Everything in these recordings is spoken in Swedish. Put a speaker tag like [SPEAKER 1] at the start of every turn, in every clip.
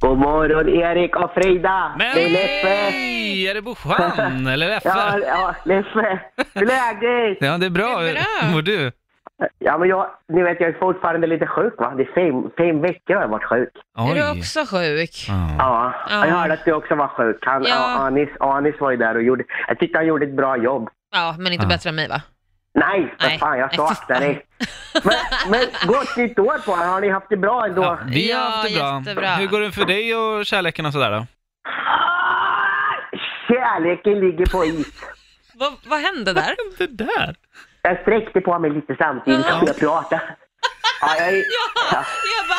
[SPEAKER 1] God morgon Erik och Frida!
[SPEAKER 2] Men
[SPEAKER 1] det är Leffe!
[SPEAKER 3] eh,
[SPEAKER 2] hej! Är det Bojan eller
[SPEAKER 1] Ja,
[SPEAKER 2] Leffe?
[SPEAKER 1] ja, Leffe. Hur är läget?
[SPEAKER 2] Ja, det är bra.
[SPEAKER 3] Det är bra.
[SPEAKER 2] Hur mår du?
[SPEAKER 1] Ja, men jag, ni vet, jag är fortfarande lite sjuk va? Det är fem, fem veckor har jag varit sjuk.
[SPEAKER 3] Är du
[SPEAKER 2] Oj.
[SPEAKER 3] också sjuk?
[SPEAKER 2] Ja.
[SPEAKER 1] Ja,
[SPEAKER 3] Ja.
[SPEAKER 1] jag hörde att du också var sjuk. Han,
[SPEAKER 3] Ja.
[SPEAKER 1] ja. Anis, Anis var ju där och gjorde, jag tyckte han gjorde ett bra jobb.
[SPEAKER 3] Ja, men inte
[SPEAKER 2] Ja.
[SPEAKER 3] bättre än mig va?
[SPEAKER 1] Nej, för
[SPEAKER 3] Nej.
[SPEAKER 1] fan jag
[SPEAKER 3] Nej,
[SPEAKER 1] sa
[SPEAKER 3] fy
[SPEAKER 1] akta
[SPEAKER 3] fan.
[SPEAKER 1] dig. Men, men gott nytt år på er, har ni haft det bra ändå?
[SPEAKER 2] Ja, vi har
[SPEAKER 3] Ja,
[SPEAKER 2] haft det bra.
[SPEAKER 3] jättebra.
[SPEAKER 2] Hur går det för dig och kärleken och sådär då?
[SPEAKER 1] Ah, Kärleken ligger på is.
[SPEAKER 3] Vad, vad hände där?
[SPEAKER 2] Det där?
[SPEAKER 1] Jag sträckte på mig lite samtidigt som jag pratade. Ja, jag, är-
[SPEAKER 3] Ja, jag bara,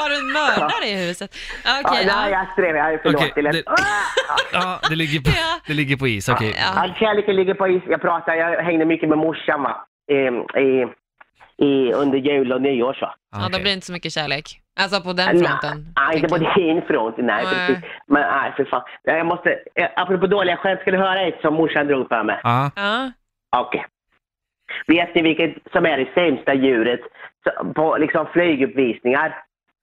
[SPEAKER 3] har du en mördare i huset? Ja,
[SPEAKER 1] ja,
[SPEAKER 3] Okej,
[SPEAKER 1] nej,
[SPEAKER 3] ja.
[SPEAKER 1] jag strävar. Förlåt,
[SPEAKER 2] Okej,
[SPEAKER 1] det lät...
[SPEAKER 2] det-
[SPEAKER 1] Ah!
[SPEAKER 2] Ja, det ligger på,
[SPEAKER 3] Ja.
[SPEAKER 2] det ligger på is. Okej.
[SPEAKER 3] Ja.
[SPEAKER 1] Ja, kärleken ligger på is. Jag pratar, jag hängde mycket med morsan va. Eh, i, i, under jul och nyår så.
[SPEAKER 3] ja, då
[SPEAKER 2] okej.
[SPEAKER 3] blir det inte så mycket kärlek. Alltså på den
[SPEAKER 1] Nej,
[SPEAKER 3] fronten.
[SPEAKER 1] Nej, inte på
[SPEAKER 3] tänker jag.
[SPEAKER 1] din front. Nej,
[SPEAKER 3] Nej.
[SPEAKER 1] precis. Men nej, för fan. Jag måste, eh, apropå dåliga skämt, ska du höra ett som morsan drog för mig?
[SPEAKER 2] Ja.
[SPEAKER 3] Ja.
[SPEAKER 1] Okej. Vet ni vilket som är det sämsta djuret så- på liksom flyguppvisningar?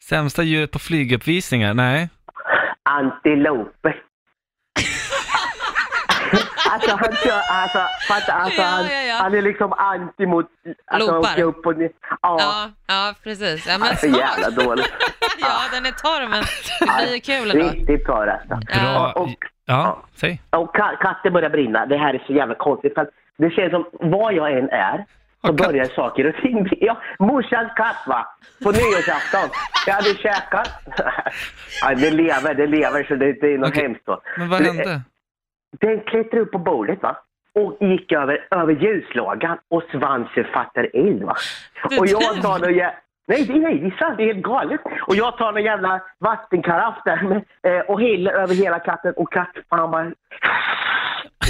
[SPEAKER 2] Sämsta djuret på flyguppvisningar? Nej.
[SPEAKER 1] Antiloper. alltså han kör, alltså, fatta, alltså
[SPEAKER 3] Ja,
[SPEAKER 1] han,
[SPEAKER 3] ja, ja.
[SPEAKER 1] han är liksom anti mot... Alltså,
[SPEAKER 3] Lopar.
[SPEAKER 1] åka upp och ner. Ja.
[SPEAKER 3] Ja, ja, precis. Ja, men
[SPEAKER 1] Alltså
[SPEAKER 3] så.
[SPEAKER 1] jävla dåligt.
[SPEAKER 3] ja, den är torr men det blir ju kul ändå.
[SPEAKER 1] Riktigt torr alltså.
[SPEAKER 2] Bra.
[SPEAKER 1] Och-
[SPEAKER 2] Ja, säg.
[SPEAKER 1] Och ka- katten börjar brinna. Det här är så jävla konstigt. För att det känns som vad jag än är så
[SPEAKER 2] Har katt-
[SPEAKER 1] börjar saker och ting bli- Ja, morsans katt va! På nyårsafton. Jag hade käkat. ja, det lever, det lever så det, det är något
[SPEAKER 2] Okej.
[SPEAKER 1] hemskt då.
[SPEAKER 2] Men vad hände?
[SPEAKER 1] Den klättrade upp på bordet va. Och gick över, över ljuslågan och svansen fattade eld va.
[SPEAKER 3] Det
[SPEAKER 1] Och jag
[SPEAKER 3] där-
[SPEAKER 1] tar någon jä... Nej, det- nej, det är sant. Det är helt galet. Och jag tar någon jävla vattenkaraff där med, eh, och häller över hela katten och katten, han bara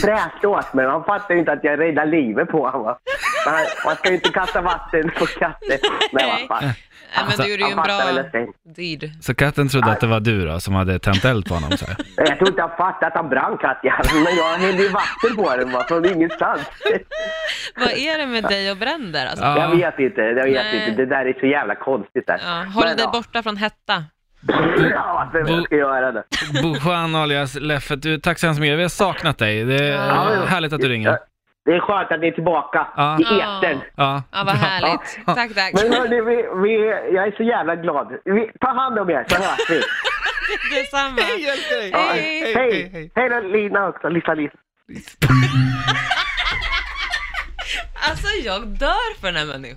[SPEAKER 1] fräste åt mig. Han fattar ju inte att jag räddar livet på honom. va. Men han- Man ska ju inte kasta vatten på katten. Nej, vad fan.
[SPEAKER 3] Ja, men
[SPEAKER 2] Alltså,
[SPEAKER 3] du gjorde ju
[SPEAKER 1] Han
[SPEAKER 3] en
[SPEAKER 1] fattar väl
[SPEAKER 3] bra
[SPEAKER 1] inte.
[SPEAKER 3] deed.
[SPEAKER 2] Så katten trodde att det var du då, som hade tänt eld på honom? Så här.
[SPEAKER 1] Jag tror inte han fattade att han brann kattjäveln. Men jag hällde ju vatten på den va, från ingenstans.
[SPEAKER 3] Vad är det med dig och bränder alltså?
[SPEAKER 2] Ja.
[SPEAKER 1] Jag vet inte. Jag vet
[SPEAKER 3] Nej.
[SPEAKER 1] inte. Det där är så jävla konstigt. Där.
[SPEAKER 3] Ja, håll
[SPEAKER 1] Men,
[SPEAKER 3] dig
[SPEAKER 1] ja.
[SPEAKER 3] borta från hetta.
[SPEAKER 1] Ja, vad ska jag göra det?
[SPEAKER 2] Bojan alias Leffet, du, tack så hemskt mycket. Vi har saknat dig. Det är
[SPEAKER 1] Ja, men-
[SPEAKER 2] härligt att du ringer.
[SPEAKER 1] Ja, Det är skönt att ni är tillbaka
[SPEAKER 2] Ja.
[SPEAKER 1] i etern.
[SPEAKER 2] Ja,
[SPEAKER 3] Ja, vad
[SPEAKER 2] bra.
[SPEAKER 3] härligt. Tack, tack.
[SPEAKER 1] Men hörni, vi, vi, jag är så jävla glad. Vi, ta hand om er så hörs vi.
[SPEAKER 3] Detsamma.
[SPEAKER 1] Ja,
[SPEAKER 3] Hej.
[SPEAKER 2] hej,
[SPEAKER 1] Hej!
[SPEAKER 2] hej.
[SPEAKER 1] Hej då Lina också, Lisa Lisa.
[SPEAKER 3] Alltså jag dör för den här människan.